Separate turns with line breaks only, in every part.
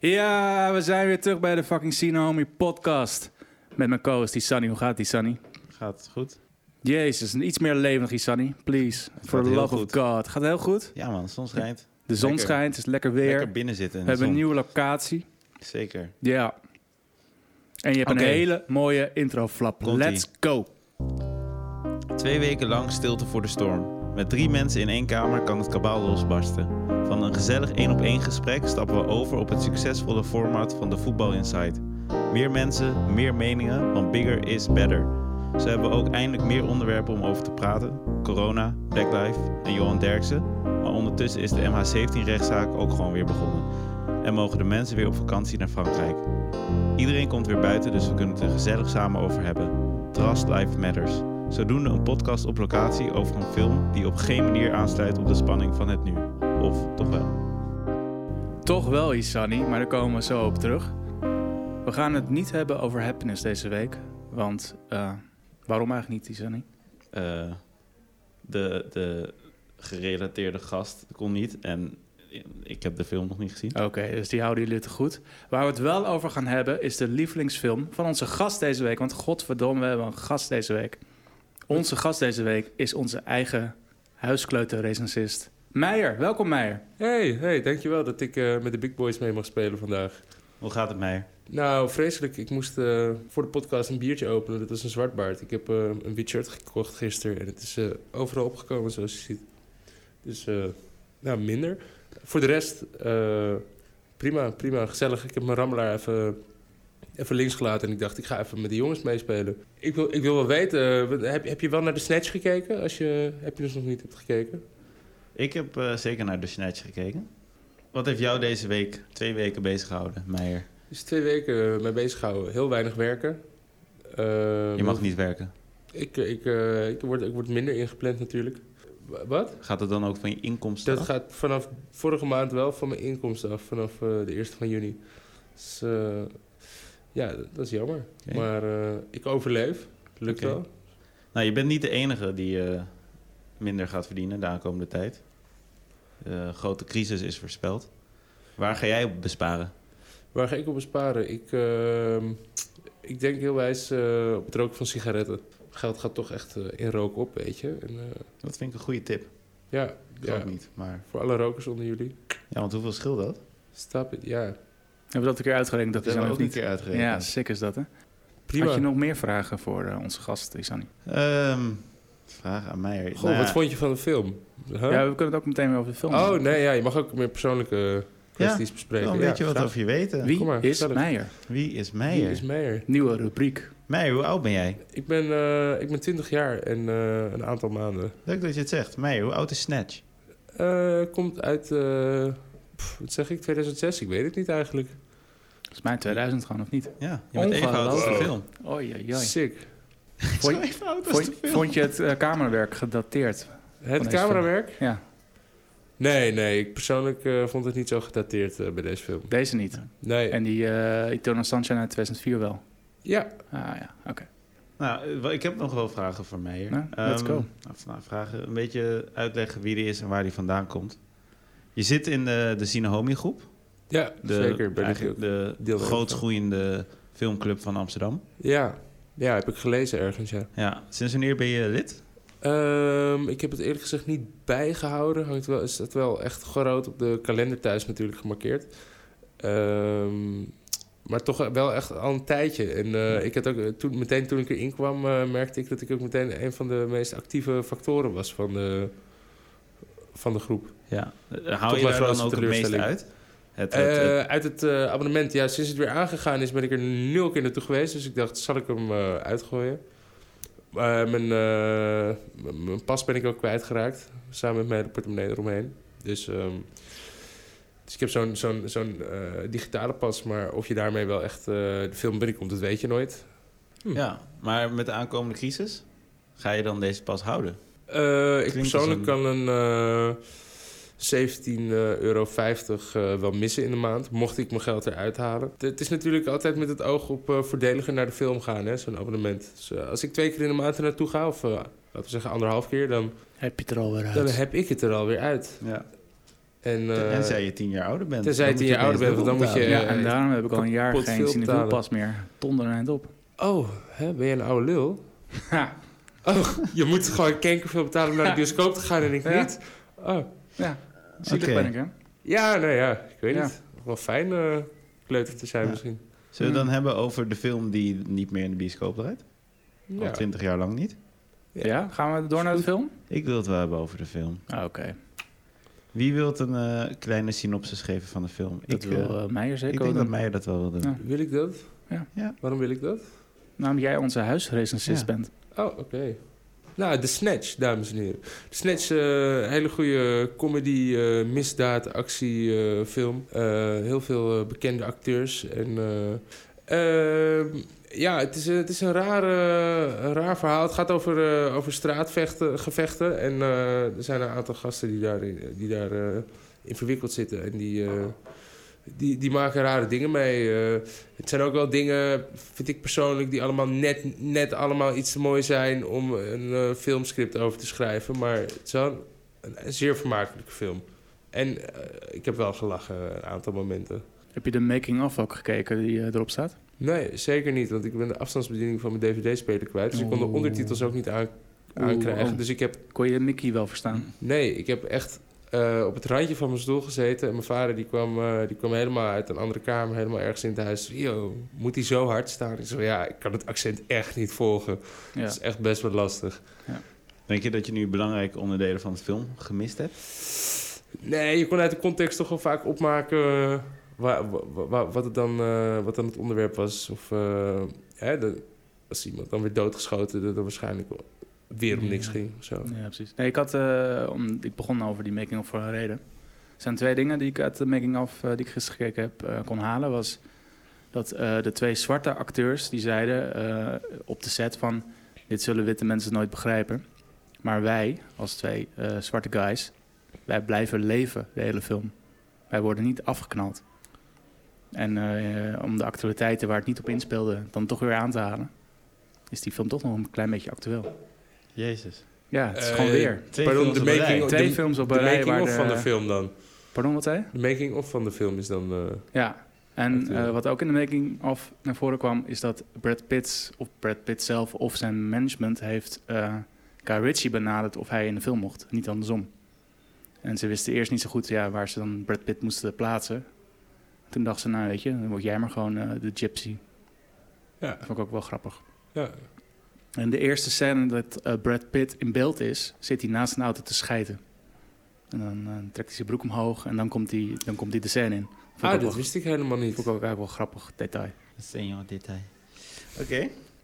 Ja, we zijn weer terug bij de fucking Sino Homie podcast. Met mijn co-host, die Sunny. Hoe gaat die, Sunny?
Gaat goed?
Jezus, een iets meer levendig, die Sunny. Please. For the
heel
love
goed.
of God. Gaat heel goed.
Ja man, soms schijnt.
De zon
Lekker.
schijnt, het is lekker weer.
Lekker binnen zitten in
we
de
hebben een
zon.
nieuwe locatie.
Zeker.
Ja. En je hebt
Oké.
een hele mooie introflap.
Komt-ie.
Let's go.
Twee weken lang stilte voor de storm. Met drie mensen in één kamer kan het kabaal losbarsten. Van een gezellig één-op-één gesprek stappen we over op het succesvolle format van de Voetbal Insight. Meer mensen, meer meningen, want bigger is better. Zo hebben we ook eindelijk meer onderwerpen om over te praten. Corona, Black Life en Johan Derksen. Maar ondertussen is de MH17-rechtszaak ook gewoon weer begonnen. En mogen de mensen weer op vakantie naar Frankrijk. Iedereen komt weer buiten, dus we kunnen het er gezellig samen over hebben. Trust Life Matters. Zodoende een podcast op locatie over een film die op geen manier aansluit op de spanning van het nu. Of toch wel?
Toch wel iets, Sunny, maar daar komen we zo op terug. We gaan het niet hebben over happiness deze week. Want eh, waarom eigenlijk niet, die Sunny?
Eh, de, de gerelateerde gast kon niet en ik heb de film nog niet gezien.
Oké, dus die houden jullie te goed. Waar we het wel over gaan hebben is de lievelingsfilm van onze gast deze week. Want godverdomme, we hebben een gast deze week. Onze gast deze week is onze eigen huiskleuterrecensist Meijer. Welkom Meijer.
Hey, hey, dankjewel dat ik eh, met de big boys mee mag spelen vandaag.
Hoe gaat het mij?
Nou, vreselijk. Ik moest eh, voor de podcast een biertje openen. Dat was een zwartbaard. Ik heb eh, een wit shirt gekocht gisteren en het is eh, overal opgekomen zoals je ziet. Dus, eh, nou, minder. Voor de rest, eh, prima, prima, gezellig. Ik heb mijn rammelaar even, even links gelaten en ik dacht, ik ga even met de jongens meespelen. Ik wil, ik wil wel weten, eh, wat- heb, heb je wel naar de Snatch gekeken? Als je, heb je dus nog niet hebt gekeken?
Ik heb eh, zeker naar de Snatch gekeken. Wat heeft jou deze week twee weken bezig gehouden, Meijer?
Dus twee weken eh, mee bezig houden. Heel weinig werken. Eh,
Je mag niet werken.
Ik, ik, eh, ik, word, ik word minder ingepland natuurlijk. Wa- Wat?
Gaat het dan ook van je inkomsten?
Dat
af?
gaat vanaf vorige maand wel van mijn inkomsten af. Vanaf eh, de 1e van juni. Dus eh, ja, dat dat is jammer.
Oké.
Maar eh, ik overleef. Lukt
Oké.
wel.
Nou, je bent niet de enige die eh, minder gaat verdienen de aankomende tijd. De grote crisis is voorspeld. Waar ga jij op besparen?
Waar ga ik op besparen? Ik, ehm, ik denk heel wijs eh, op het roken van sigaretten. Geld gaat toch echt eh, in rook op, weet je. En, eh,
Dat vind ik een goede tip.
ja,
Ik
ja,
ook niet, maar...
voor alle rokers onder jullie.
Ja, want hoeveel scheelt dat?
Stap het, ja.
Hebben we dat een keer uitgerekend? Dat, is
hebben we
ook niet.
ook een keer
Ja,
uitgerekend.
sick is dat hè.
Prima.
Had je nog meer vragen voor eh, onze gast, Isani?
Ehm, vraag aan Nou mij.
Goh, wat vond je van de film? Huh?
Ja, we kunnen het ook meteen weer over de film
oh,
hebben.
nee, ja, je mag ook meer persoonlijke kwesties bespreken.
Dan
ja,
weet je wat
graag.
over je weten.
Wie
kom maar,
is
vertel het.
Meijer?
Wie is
Wie
Meijer?
is Meijer?
Nieuwe rubriek.
Meijer, hoe oud ben jij?
Ik ben, eh, ik ben 20 jaar en eh, een aantal maanden.
Leuk dat je het zegt. Meijer, hoe oud is Snatch?
Eh, komt uit, eh, pff, wat zeg ik, 2006? Ik weet het niet eigenlijk.
Volgens mij 2000 gewoon, of niet?
Ja, je bent even oud als de
Ongelooflijk.
film.
Oei, oei, oei.
Sick.
Vond
Zo
je-
even oud als de
Vond,
film.
vond je het eh, kamerwerk gedateerd?
Het
deze
camerawerk?
Ja,
Nee, nee, ik persoonlijk eh, vond het niet zo gedateerd eh, bij deze film.
deze niet.
Nee.
En die eh Eternal Sunshine uit 2004 wel.
Ja,
Ah ja, oké.
Nou, eh, wel, ik heb nog wel vragen voor Meijer.
Nou, let's
Ehm,
go.
of, nou, vragen, een beetje uitleggen wie die is en waar die vandaan komt. Je zit in eh, de, de Sinahomi groep.
ja
De,
zeker. Ben ik,
eigenlijk de
deel daarvan.
grootgroeiende filmclub van Amsterdam.
ja. ja, heb ik gelezen ergens, ja.
Ja, sinds wanneer ben je lid?
Ehm, ik heb het eerlijk gezegd niet bijgehouden. Hangt wel, is dat wel echt groot op de kalender thuis natuurlijk gemarkeerd. Ehm, maar toch wel echt al een tijdje. En eh, ik had ook, eh, toen, meteen toen ik erin kwam, eh, merkte ik dat ik ook meteen een van de meest actieve factoren was van de, van de groep.
Ja. Eh,
Tot
Hou je
mijn
daar dan
grootste
ook het meeste
teleurstelling.
uit? Het, het, het-
Eh, uit het eh, abonnement, ja, sinds het weer aangegaan is, ben ik er nul keer naartoe geweest. Dus ik dacht, zal ik hem eh, uitgooien? Eh, mijn, eh, m- mijn pas ben ik ook kwijtgeraakt. Samen met mijn portemonnee eromheen. Dus, ehm, dus ik heb zo'n zo'n zo'n eh, digitale pas. Maar of je daarmee wel echt eh, de film binnenkomt, dat weet je nooit. hmm.
ja, maar met de aankomende crisis ga je dan deze pas houden?
Eh, ik
Klinkt als
persoonlijk kan een eh 17,50 euro eh, wel missen in de maand, mocht ik mijn geld eruit halen. Het- Het is natuurlijk altijd met het oog op eh, voordeliger naar de film gaan, hè, zo'n abonnement. Dus, eh, als ik twee keer in de maand er naartoe ga, of eh, laten we zeggen anderhalf keer, dan,
Heb je het er al weer
dan heb ik het er alweer uit.
Ja.
En, eh,
Tenzij je tien jaar ouder bent.
tenzij je
Dan
tien
moet
jaar ouder
opeens
bent, want dan
dubbel
moet je-
ja, en
eh,
daarom heb ik al een jaar
kapot
geen
veel
Cineville
betalen.
pas meer. Donder eind op.
oh, hè, ben je een oude lul?
Ha,
Oh, je moet gewoon kankerveel betalen om naar de bioscoop te gaan en ik
Ja.
niet. Oh.
ja, zielig
Oké.
ben ik, hè?
Ja, nou ja, ik weet
Ja.
niet. Wel fijn eh kleuter te zijn
Ja.
misschien.
betalen. Zullen we het dan
Hmm.
hebben over de film die niet meer in de bioscoop draait? Al
Ja.
twintig jaar lang niet.
Ja.
Ja. gaan we door naar de film?
Ik wil het wel hebben over de film.
Ah, Oké,
Wie wilt een eh, kleine synopsis geven van de film?
dat
ik, eh,
wil eh, Meijer
ik
zeker
denk
ook
dat
doen.
Meijer dat wel wil doen.
Ja.
Wil ik dat?
Ja.
Ja.
Waarom wil ik dat?
Nou, omdat jij onze huisrecensist
Ja.
bent.
Oh, oké. Nou, The Snatch, dames en heren. The Snatch, eh, hele goede comedy, eh, misdaad, actie, eh, film. Eh, heel veel eh, bekende acteurs. En, eh, ehm, ja, het is, eh, het is een, raar, eh, een raar verhaal. Het gaat over, eh, over straatvechten, gevechten. En eh, er zijn een aantal gasten die daarin die daar, eh, in verwikkeld zitten. En die, eh, die, die maken rare dingen mee. eh. Het zijn ook wel dingen, vind ik persoonlijk, die allemaal net, net allemaal iets te mooi zijn om een eh, filmscript over te schrijven. Maar het is wel een, een zeer vermakelijke film. En eh, ik heb wel gelachen een aantal momenten.
Heb je de making-of ook gekeken die eh, erop staat?
Nee, zeker niet, want ik ben de afstandsbediening van mijn DVD-speler kwijt. Dus ik kon de
Oeh.
ondertitels ook niet aan,
Oeh,
aankrijgen.
oh.
Dus ik heb
Kon je Mickey wel verstaan?
Mm.
Nee, ik heb echt eh, op het randje van mijn stoel gezeten. En mijn vader die kwam, eh, die kwam helemaal uit een andere kamer, helemaal ergens in het huis. Yo, moet hij zo hard staan? Ik zei, ja, ik kan het accent echt niet volgen.
Ja.
Dat is echt best wel lastig.
Denk je dat je nu belangrijke onderdelen van de film gemist hebt?
Nee, je kon uit de context toch wel vaak opmaken eh, wa- wa- wa- wat, het dan, eh, wat dan het onderwerp was. Of eh, hè, dat- als iemand dan weer doodgeschoten, dat er waarschijnlijk weer om niks
Ja.
ging. of Zo.
Ja, precies. Nee, ik, had, eh, om, ik begon over die making-of voor een reden. Er zijn twee dingen die ik uit de making-of eh, die ik gisteren gekeken heb eh, kon halen. Was dat eh, de twee zwarte acteurs die zeiden eh, op de set van... dit zullen witte mensen nooit begrijpen. Maar wij, als twee eh, zwarte guys, wij blijven leven de hele film. Wij worden niet afgeknald. En eh, om de actualiteiten waar het niet op inspeelde dan toch weer aan te halen... is die film toch nog een klein beetje actueel.
Jezus.
Ja, het is
Eh,
gewoon weer.
Twee
Pardon,
films
de
op een
making-
rij.
Twee
de-
films op
De
een rij waar
making-of
de-
van de film dan.
Pardon, wat zei je?
De making-of van de film is dan... eh,
Ja. En
Natuurlijk.
eh, wat ook in de making of naar voren kwam, is dat Brad Pitt, of Brad Pitt zelf, of zijn management heeft eh Guy Ritchie benaderd of hij in de film mocht, niet andersom. En ze wisten eerst niet zo goed ja, waar ze dan Brad Pitt moesten plaatsen. Toen dacht ze, nou weet je, dan word jij maar gewoon eh, de gypsy.
ja,
Dat vond ik ook wel grappig.
ja.
En de eerste scène dat eh, Brad Pitt in beeld is, zit hij naast een auto te schijten. En dan eh, trekt hij zijn broek omhoog en dan komt hij, dan komt hij de scène in. Vond ik ook
Ah,
wel
dat wist ik helemaal niet.
Vond ik ook eigenlijk wel een grappig detail.
Dat is een jouw detail. Oké.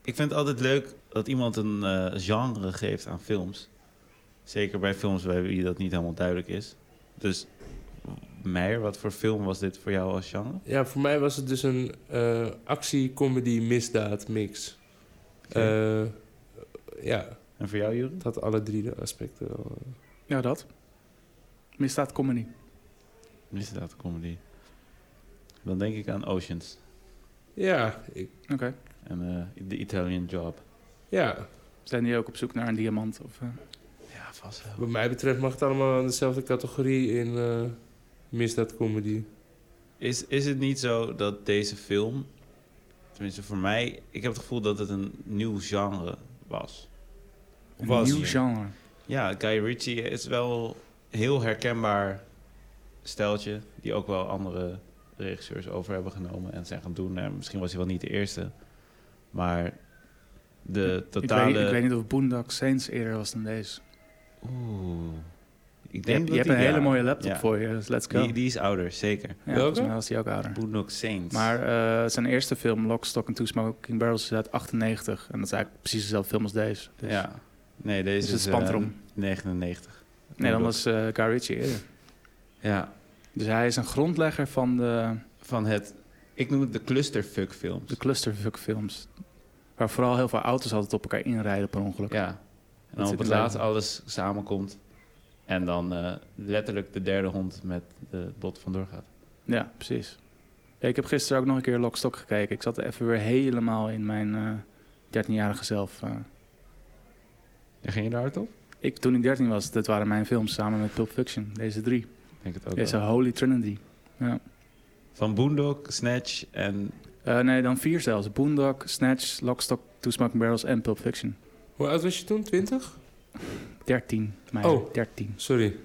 Ik vind het altijd leuk dat iemand een eh, genre geeft aan films. Zeker bij films bij wie dat niet helemaal duidelijk is. Dus Meijer, wat voor film was dit voor jou als genre?
Ja, voor mij was het dus een eh, actie-comedy-misdaad-mix.
Oké.
Eh, ja,
En voor jou, Jure?
het had alle drie de aspecten wel.
Ja, dat. Misdaad comedy.
Misdaad comedy. Dan denk ik aan Oceans
Ja, ik,
Oké.
en eh The Italian Job.
ja,
Zijn die ook op zoek naar een diamant? Of, eh?
Ja, vast wel.
wat mij betreft mag het allemaal in dezelfde categorie in eh, misdaad-comedy.
Is, is het niet zo dat deze film, tenminste voor mij, ik heb het gevoel dat het een nieuw genre was?
Een
Was
nieuw
hier.
genre.
Ja, Guy Ritchie is wel heel herkenbaar steltje die ook wel andere regisseurs over hebben genomen en zijn gaan doen. En misschien was hij wel niet de eerste, maar de totale.
Ik, weet, ik weet niet of Boondock Saints eerder was dan deze.
Oeh. Ik
Je
denk
hebt, je
dat
hebt
die-
een hele
ja.
mooie laptop
Ja.
voor je, dus let's go.
Die, die is ouder, zeker.
ja,
Welke?
volgens mij was die ook ouder.
Boondock Saints.
Maar eh, zijn eerste film, Lockstock and Two Smoking Barrels, is uit 98. En dat is eigenlijk precies dezelfde film als deze. Dus,
ja. Nee, deze
dus het
is
spant
eh,
erom.
99.
Nee, dan
Boondock.
was eh Guy Ritchie eerder.
Ja,
Dus hij is een grondlegger van de,
van het... Ik noem het de clusterfuck films.
de clusterfuck films. Waar vooral heel veel auto's altijd op elkaar inrijden per ongeluk.
Ja. En dan
zit
op het
er
laatst
bij.
alles samenkomt. En dan eh, letterlijk de derde hond met de bot vandoor gaat.
Ja, precies. Ja, ik heb gisteren ook nog een keer Lockstock gekeken. Ik zat even weer helemaal in mijn eh 13-jarige zelf. eh.
Ja, ging je daar hard op?
ik, toen ik 13 was, dat waren mijn films samen met Pulp Fiction, deze drie.
denk het ook
Deze
wel.
Holy Trinity.
Van Boondock, Snatch en...
Eh, nee, dan vier zelfs. Boondock, Snatch, Lockstock, Two Smoking Barrels en Pulp Fiction.
Hoe oud was je toen? 20?
13. Mei,
Oh.
13.
Sorry.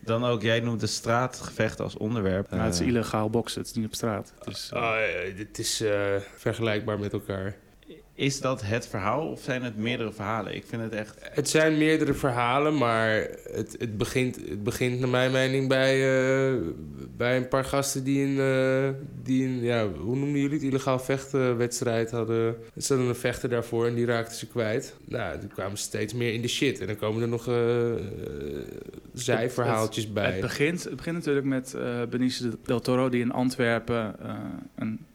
Dan ook, jij noemt de straatgevechten als onderwerp.
Maar Nou, het is
Eh,
illegaal boksen, het is niet op straat. Dus, eh,
Ah, eh, dit is eh, vergelijkbaar met elkaar.
Is dat het verhaal of zijn het meerdere verhalen? Ik vind het echt...
Het zijn meerdere verhalen, maar het, het, begint, het begint naar mijn mening bij, eh, bij een paar gasten die een, eh, die een ja, hoe noemden jullie het, illegaal vechtenwedstrijd hadden. Ze hadden een vechter daarvoor en die raakten ze kwijt. Nou, toen kwamen ze steeds meer in de shit en dan komen er nog eh, eh, zijverhaaltjes bij.
Het begint, het begint natuurlijk met eh Benicio del Toro, die in Antwerpen eh, een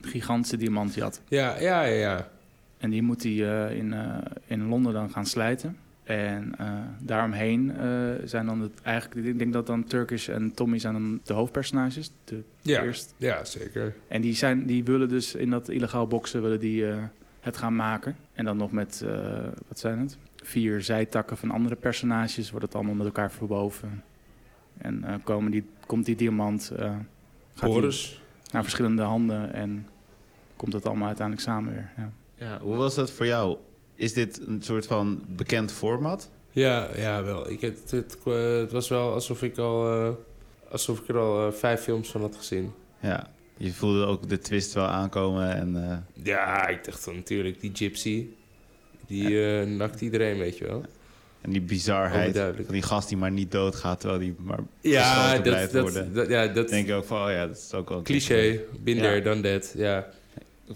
gigantische diamant had.
Ja, ja, ja, ja.
En die moet hij eh, in, eh, in Londen dan gaan slijten. En eh, daaromheen eh, zijn dan het, eigenlijk, ik denk dat dan Turkish en Tommy zijn dan de hoofdpersonages. De
Ja,
eerst.
ja zeker.
En die, zijn, die willen dus in dat illegaal boksen willen die, eh, het gaan maken. En dan nog met, eh, wat zijn het? Vier zijtakken van andere personages wordt het allemaal met elkaar verwoven. En eh, komen die, komt die diamant eh, gaat die
Boris.
naar verschillende handen en komt het allemaal uiteindelijk samen weer. Ja.
Ja, hoe was dat voor jou? Is dit een soort van bekend format?
Ja, ja, wel. Ik, het, het, eh, het was wel alsof ik, al, eh, alsof ik er al eh, vijf films van had gezien.
Ja, je voelde ook de twist wel aankomen en... eh,
Ja, ik dacht dan natuurlijk, die gypsy, die eh, nakt iedereen, weet je wel.
En die bizarheid
Overduidelijk.
van die gast die maar niet doodgaat, terwijl die maar
Ja,
geschoten
dat,
blijft
dat,
worden.
dat- ja,
Dan
dat
denk ik ook van, oh ja, dat is ook wel... een
cliché, binder
Ja.
dan dat, ja.
cliché.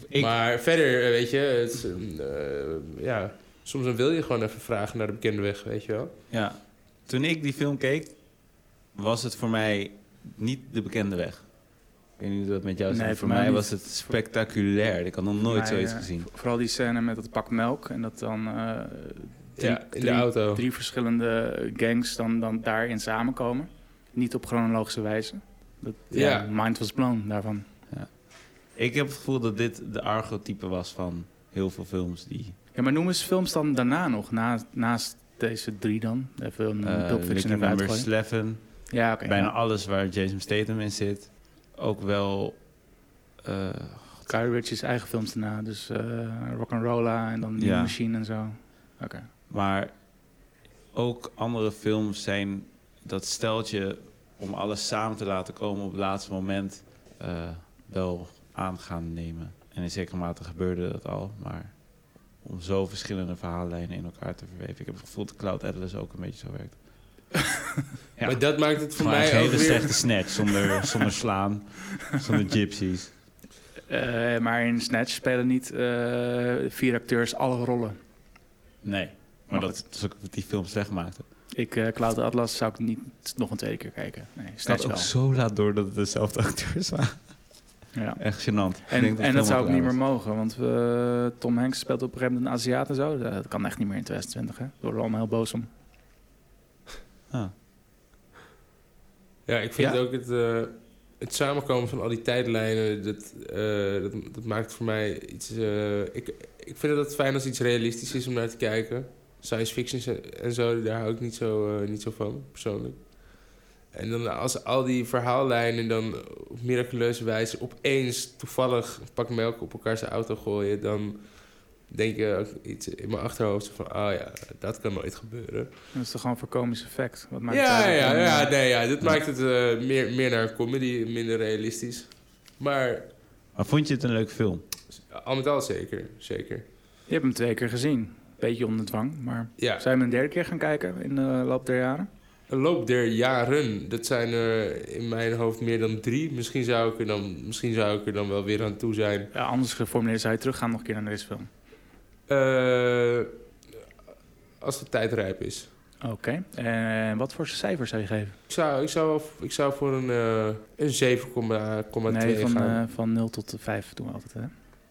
Ik,
Maar verder, eh, weet je, het, is, eh, ja, soms dan wil je gewoon even vragen naar de bekende weg, weet je wel.
ja, toen ik die film keek, was het voor mij niet de bekende weg. Ik weet niet hoe dat met jou is.
Nee,
maar voor
voor mij
mij
niet.
was het spectaculair. Ik had nog nooit
Maar,
zoiets
eh,
gezien.
vo- Vooral die scène met dat pak melk en dat dan eh, drie,
ja, in de
drie-
Oh.
auto.
drie verschillende gangs dan, dan daarin samenkomen. Niet op chronologische wijze. Dat, ja.
Ja.
mind was blown daarvan.
Ik heb het gevoel dat dit de archetype was van heel veel films die...
Ja, maar noem eens films dan daarna nog, na, naast deze drie dan. Even een
eh
Pulp Mm, Fiction
Lucky
even
Number
uitgooien.
11,
Ja, oké.
bijna alles waar Jason Statham in zit. Ook wel... eh,
Guy Ritchie's eigen films daarna, dus eh Rock'n'Rolla en dan New
Ja.
Machine en zo. Oké.
Maar ook andere films zijn dat steltje om alles samen te laten komen op het laatste moment eh, wel aan gaan nemen. En in zekere mate gebeurde dat al, maar om zo verschillende verhaallijnen in elkaar te verweven. Ik heb het gevoel dat Cloud Atlas ook een beetje zo werkt. Ja.
Maar dat maakt het voor
maar een
mij ook
hele
weer...
slechte snatch zonder, zonder slaan, zonder gypsies.
Eh, maar in Snatch spelen niet eh, vier acteurs alle rollen.
Nee, maar dat is ook wat die film slecht maakte.
Ik, eh Cloud Atlas, zou ik niet nog een tweede keer kijken. Nee,
Ik had
Snatch
ook
wel.
zo laat door dat het dezelfde acteurs waren.
Ja.
Echt gênant. Ik denk
En,
de
en
film
dat zou
ook
ook niet
raar
meer
was.
mogen, want eh, Tom Hanks speelt op een gegeven moment een Aziat en zo. Dat kan echt niet meer in 2020, hè? Daar worden we allemaal heel boos om.
Ah.
Ja, ik vind
Ja.
ook het, eh, het samenkomen van al die tijdlijnen, dat, eh, dat, dat maakt voor mij iets... eh, ik, ik vind het fijn als iets realistisch is om naar te kijken. Science fiction ze- en zo, daar hou ik niet zo, eh, niet zo van, persoonlijk. En dan als al die verhaallijnen dan op miraculeuze wijze opeens toevallig een pak melk op elkaar zijn auto gooien, dan denk je ook iets in mijn achterhoofd zo van, ah ja, dat kan nooit gebeuren.
Dat is toch gewoon voor komisch effect? Wat maakt het
Ja,
uit?
ja,
En,
ja,
eh,
nee, ja. Dit maakt het eh, meer, meer naar comedy, minder realistisch. Maar
Maar vond je het een leuke film?
al met al zeker, zeker.
Je hebt hem twee keer gezien. Beetje onder dwang, maar...
Ja,
Zou je hem een derde keer gaan kijken in de loop der jaren?
een loop der jaren. Dat zijn er in mijn hoofd meer dan drie. Misschien zou ik er dan, misschien zou ik er dan wel weer aan toe zijn.
Ja, anders geformuleerd zou je teruggaan nog een keer naar deze film.
Eh, als de tijd rijp is.
Oké. En wat voor cijfer zou je geven?
Ik zou, ik zou, wel- ik zou voor een, eh, een 7,2
nee, van,
gaan.
eh, van 0 tot 5 doen we altijd, hè?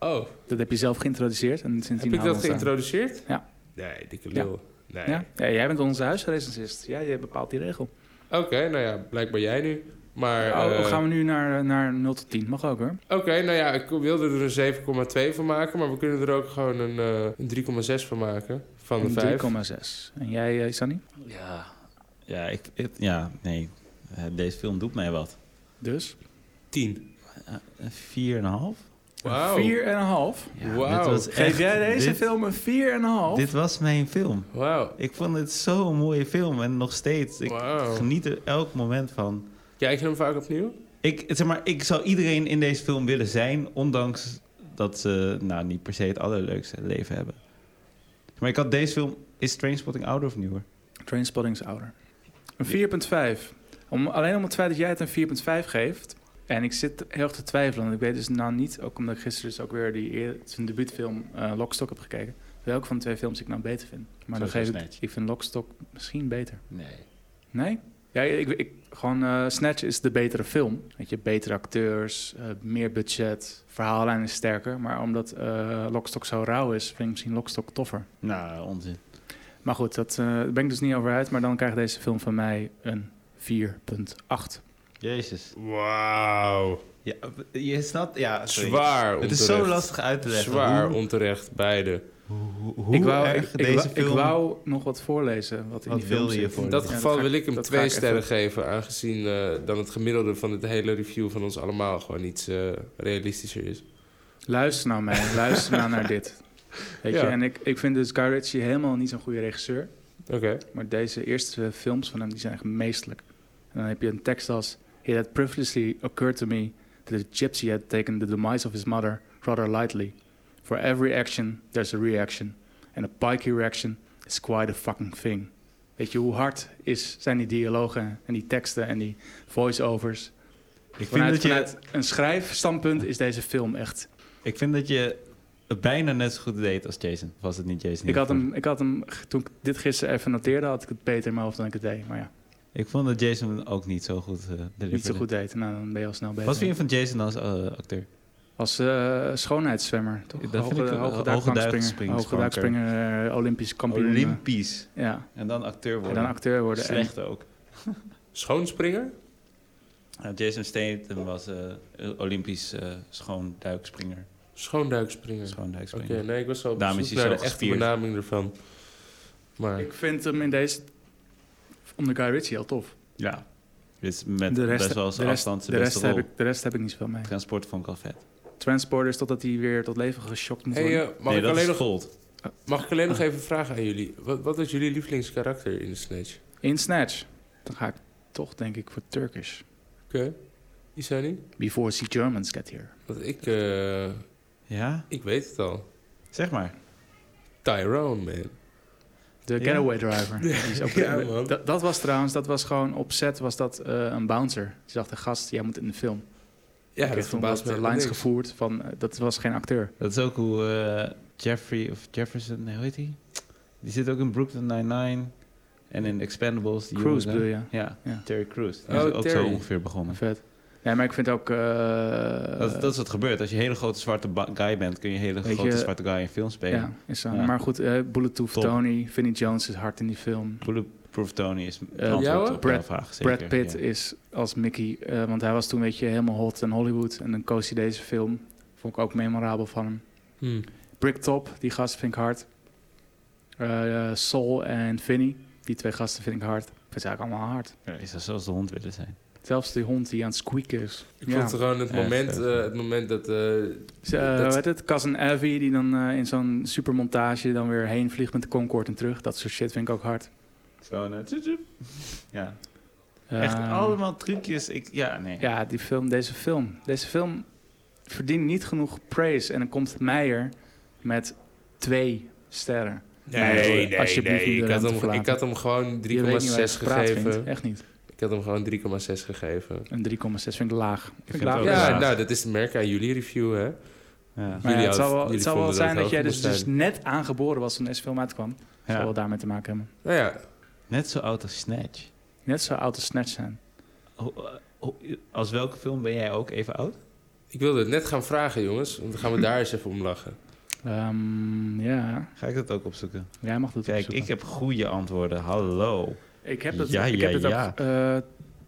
oh,
Dat heb je zelf geïntroduceerd en sindsdien
heb ik dat
houden we ons aan.
geïntroduceerd?
Ja.
Nee, dikke
Ja.
lul. Nee.
Ja? ja, jij bent onze huisrecensist. Ja, jij bepaalt die regel.
Oké, nou ja, blijkbaar jij nu. Maar,
Oh,
eh,
gaan we nu naar, naar 0 tot 10? Mag ook, hoor.
Oké, nou ja, ik wilde er een 7,2 van maken, maar we kunnen er ook gewoon een, eh, een 3,6 van maken. Van de
Een
5.
3,6. En jij, eh, Sunny?
Ja. Ja, ik, ik- ja nee. eh, deze film doet mij wat.
Dus?
Tien.
Eh, Een 4,5?
Wauw.
Vier en een half.
Wauw.
dit was
Geef
echt-
jij deze
dit-
film een vier en een half?
Dit was mijn film.
Wauw.
Ik vond het zo'n mooie film en nog steeds. Ik
Wauw.
geniet er elk moment van.
Kijk je hem vaak opnieuw?
Ik, zeg maar, ik zou iedereen in deze film willen zijn, ondanks dat ze nou, niet per se het allerleukste leven hebben. Maar ik had deze film... Is Trainspotting ouder of nieuwer?
Trainspotting is ouder. Een 4,5. Om, alleen om het feit dat jij het een 4,5 geeft. En ik zit heel erg te twijfelen. Want ik weet dus nou niet, ook omdat ik gisteren dus ook weer die, eer- zijn debuutfilm eh Lockstock heb gekeken. Welke van de twee films ik nou beter vind. Maar dan
Sowieso
geef ik,
Snatch.
ik vind Lockstock misschien beter.
Nee.
Nee? Ja, ik, ik, gewoon eh, Snatch is de betere film. Weet je, betere acteurs, eh, meer budget, verhaallijn is sterker. Maar omdat eh Lockstock zo rauw is, vind ik misschien Lockstock toffer.
Nou, onzin.
Maar goed, dat, eh, daar ben ik dus niet over uit. Maar dan krijgt deze film van mij een 4,8.
Jezus.
Wauw.
Ja, je snapt... Ja, sorry.
Zwaar
Het is zo
onterecht.
lastig uit te leggen.
Zwaar
Hoe,
onterecht, beide.
hoe, hoe
ik, wou,
erg
ik, ik
deze
wou- ik
film...
wou nog wat voorlezen. Wat, in
Wat
die film
wilde je
zit.
voor-
In dat
Ja,
geval
ga
wil ik
ik-
hem
dat ga
twee
ik even-
sterren geven, aangezien eh, dan het gemiddelde van het hele review van ons allemaal gewoon iets eh, realistischer is.
Luister nou mij, luister nou naar dit. Weet je,
Ja.
en ik, ik vind dus Guy Ritchie helemaal niet zo'n goede regisseur.
Oké.
Maar deze eerste films van hem die zijn echt meestelijk. En dan heb je een tekst als... It had previously occurred to me that a gypsy had taken the demise of his mother rather lightly. For every action, there's a reaction. And a pikey reaction is quite a fucking thing. Weet je, hoe hard is, zijn die dialogen en die teksten en die voice-overs?
Ik vind,
Vanuit,
dat je,
vanuit een schrijfstandpunt is deze film echt...
ik vind dat je het bijna net zo goed deed als Jason. Was het niet Jason?
Ik had hem, ik had hem g- toen ik dit gisteren even noteerde, had ik het beter in mijn hoofd dan ik het deed. Maar ja,
Ik vond dat Jason ook niet zo goed eh
niet zo
deliverde.
goed deed. Nou, dan ben je al snel bezig.
Wat vind je van Jason als eh, acteur?
Als eh, schoonheidszwemmer, toch?
Dat vind
hoge,
ik, eh,
hoge
hoge
duikspringer,
duikspringer,
hoge duikspringer, eh, Olympisch kampioen. eh,
Olympisch.
ja,
En dan acteur
en
worden.
dan acteur worden. En
Slecht ook.
Schoonspringer?
Ja, Jason Statham was eh, Olympisch eh schoonduikspringer.
Schoonduikspringer. Oké,
Schoonduikspringer.
nee, ik was al op
Daarom is
zoek
hij
naar
zo
de echte
gespierd.
benaming ervan. Maar
ik vind hem in deze, onder Guy Ritchie, heel tof.
Ja. Dus met
de rest,
best wel
de
zijn
rest, de
afstand zijn
rest
beste
heb
rol.
ik, de rest heb ik niet zoveel mee.
Transport vond ik al vet.
Transporters, totdat hij weer tot leven geschokt moet
hey,
worden.
eh, mag,
nee,
ik
dat
alleen
is
nog,
Gold.
mag ik alleen nog even vragen aan jullie? Wat, wat is jullie lievelingskarakter in de Snatch?
in Snatch, dan ga ik toch denk ik voor Turkish.
Oké. Isani?
Before the Germans get here.
Want ik, eh,
Ja?
ik weet het al.
Zeg maar.
Tyrone, man.
De
Ja.
getaway driver. Die is ook-
Ja, man.
dat, dat was trouwens, dat was gewoon opzet, was dat eh, een bouncer. Die dacht, de gast, jij moet in de film.
Ja,
ik
dat
heb toen
verbaast
wat eh,
me helemaal
lines
niks.
gevoerd van, eh, dat was geen acteur.
Dat is ook hoe eh, Jeffrey of Jefferson, nee, hoe heet hij? Die zit ook in Brooklyn Nine-Nine en in Expendables. Die
Cruise
jongen
bedoel
daar.
je?
Ja,
Ja.
Terry Crews. Die
Oh,
is ook
Terry.
zo ongeveer begonnen.
Vet. Nee, maar ik vind ook... eh,
Dat, dat is wat gebeurt. Als je een hele grote zwarte ba- guy bent, kun je een hele
Weet
grote
je-
zwarte guy in film spelen.
ja, is zo.
Ja.
Maar goed, eh Bulletproof
Top.
Tony, Vinnie Jones is hard in die film.
Bulletproof Tony is het
Eh,
antwoord
jouwe?
op jouw
Brad-
vraag, zeker.
Brad Pitt
Ja.
is als Mickey, eh, want hij was toen weet je helemaal hot in Hollywood. En dan koos hij deze film. Vond ik ook memorabel van hem.
Hmm.
Bricktop, die gast vind ik hard. Eh, eh, Sol en Vinny, die twee gasten vind ik hard. Ik vind ze eigenlijk allemaal hard.
Ja, is dat zoals de hond willen zijn.
Zelfs die hond die aan het squeaken is.
Ik
Ja.
vond gewoon het
Ja,
moment,
vet.
eh, het moment dat... eh,
Z- eh,
Dat-
hoe heet het? Cas en Avi, die dan eh, in zo'n supermontage dan weer heen vliegt met de Concorde en terug. Dat soort shit vind ik ook hard.
Zo, nou, Ja. Echt
Eh,
allemaal trucjes. Ik, ja, nee.
Ja, die film, deze film. Deze film verdient niet genoeg praise. En dan komt Meijer met twee sterren.
nee, nee, nee.
alsjeblieft niet de
Ik, had
ruimte
hem,
verlaten.
ik had hem gewoon 3,6
Je weet niet waar je over praat vindt.
gegeven.
Echt niet.
Ik had hem gewoon 3,6 gegeven.
Een 3,6 vind ik laag. Vind
vind
ik laag.
het ook
Ja,
Ja,
raar.
nou, dat is het merk aan jullie review, hè?
Ja.
Maar ja,
Jullie
het
hadden-
zal wel, het
jullie
zal wel
vonden dat
zijn dat
het
jij
hoog
dus,
moest
dus
zijn.
net aangeboren was toen deze film uitkwam. Dat
Ja.
zal wel daarmee te maken hebben.
Nou ja,
Net zo oud als Snatch.
Net zo oud als Snatch zijn.
Ho- eh, ho- Als welke film ben jij ook even oud?
ik wilde het net gaan vragen, jongens. Want dan gaan we daar eens even om lachen.
Ehm, ja,
Ga ik dat ook opzoeken?
jij mag dat
Kijk,
opzoeken.
ik heb goede antwoorden. Hallo.
Ik heb dat,
Ja,
ik
ja,
heb dat
ja.
ook eh,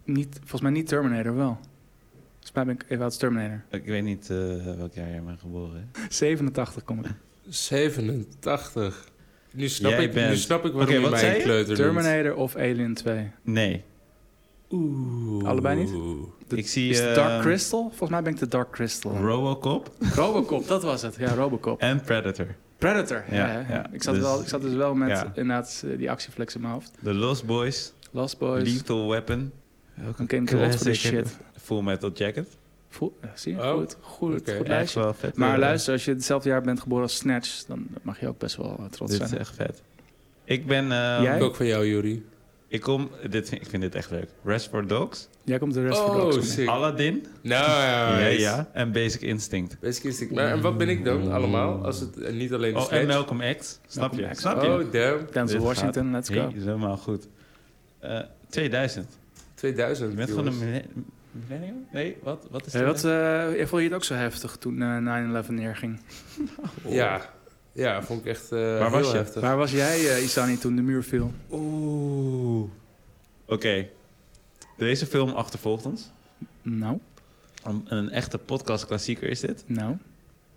niet, volgens mij niet Terminator wel. Volgens mij ben ik even oud als Terminator.
Ik weet niet eh, welk jaar jij bent geboren. Hè?
87 kom ik.
87. Nu snap,
Jij
ik, nu
bent-
snap ik waarom
Oké,
je
wat
mij
zei
een
je?
kleuter noemt.
Terminator of Alien 2?
Nee.
Oeh.
Allebei niet? De-
ik zie
Is de
eh,
Dark Crystal? Volgens mij ben ik de Dark Crystal.
Robocop
Robocop, dat was het. Ja, Robocop.
en Predator.
Predator. Ja,
Ja,
hè.
ja.
Ik, zat
Dus-
wel, ik zat dus wel met
ja.
inderdaad eh, die actieflex in mijn hoofd.
The Lost Boys,
Lost Boys.
Lethal Weapon.
Dan came the old for this
Classic.
shit.
Full Metal Jacket.
Voel, eh, zie je?
Oh,
Goed, goed,
oké.
goed
Echt
lijstje.
wel vet.
Maar
eh,
luister, als je hetzelfde jaar bent geboren als Snatch, dan mag je ook best wel eh, trots
Dit is
zijn.
echt vet. Ik ben... eh,
Jij?
Ik ook van jou, Juri.
Ik kom... Dit, ik vind dit echt leuk. Rest for Dogs.
Jij komt de rest voor de
Oh,
oksel.
sick.
Aladdin.
Ah,
Nou,
Ja, ja. En Basic Instinct.
Basic instinct. Maar en wat ben ik dan allemaal? Als het eh, niet alleen de
Oh, en
Snatch-
Malcolm X. Snap
Malcolm
je?
X.
Snap je?
Oh, damn.
Denzel
Dit
Washington, let's
Hey,
go.
dat is helemaal goed. Eh, 2000.
2000.
Je bent gewoon
jongens.
een millen- millennial? Nee, wat, wat is
Hey,
dat?
wat, eh, vond je het ook zo heftig toen eh, 9-11 neerging?
Ja. Ja, vond ik echt eh
Waar
heel
was je?
heftig.
Waar was jij, eh, Isani, toen de muur viel?
Oeh. Oké. Deze film achtervolgt ons.
Nou,
Een, een echte podcastklassieker is dit.
nou.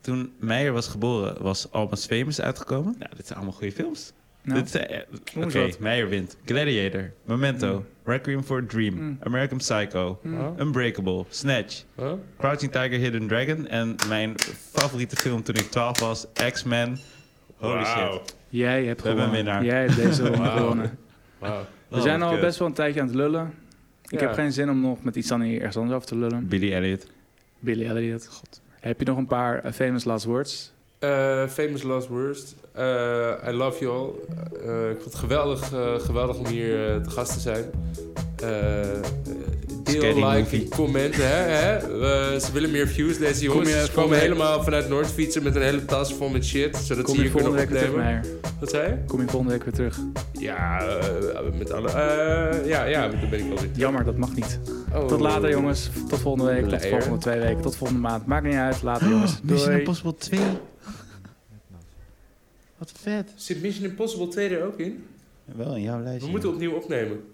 Toen Meijer was geboren, was Almas Famous uitgekomen. Nou, dit zijn allemaal goede films.
nou.
Dit zijn, eh, Oké,
Noem eens wat.
Meijer wint. Gladiator, Memento,
Mm.
Requiem for a Dream,
Mm.
American Psycho,
Hmm.
Huh?
Unbreakable, Snatch,
Huh?
Crouching Tiger, Hidden Dragon en mijn favoriete film toen ik 12 was, X-Men. Holy
Wauw.
shit.
Jij hebt
We hebben
gewonnen.
een winnaar.
Jij hebt deze ronde
Wauw.
gewonnen.
Wauw.
We zijn al
Oh, kut.
best wel een tijdje aan het lullen. Ik
Ja.
heb geen zin om nog met Isani ergens anders over te lullen.
Billy Elliot.
Oh, Billy Elliot. Heb je nog een paar eh, famous last words?
Eh, famous Last Words. Eh, I love you all. Eh, ik vond het geweldig, eh, geweldig om hier eh, te gast te zijn. Eh, eh,
Scary
deel, like,
movie.
en comment. Hè, hè? Eh, ze willen meer views, deze jongens.
je
ze komen
volgende-
helemaal vanuit Noord fietsen met een hele tas vol met shit. Zodat
Kom
ze
je
hier
volgende
kunnen
week weer terug,
opnemen.
Meijer?
Wat zei je?
Kom je volgende week weer terug?
Ja, eh, met alle... eh, ja, ja, daar ben ik wel weer.
Jammer, dat mag niet.
Oh.
Tot later, jongens. Tot volgende week. Tot
Leier.
volgende twee weken. Tot volgende maand. Maakt niet uit. Later, jongens.
Mission
Doei.
Impossible 2. Wat vet.
Zit Mission Impossible 2 er ook in?
Wel in jouw
We
lijstje.
moeten opnieuw opnemen.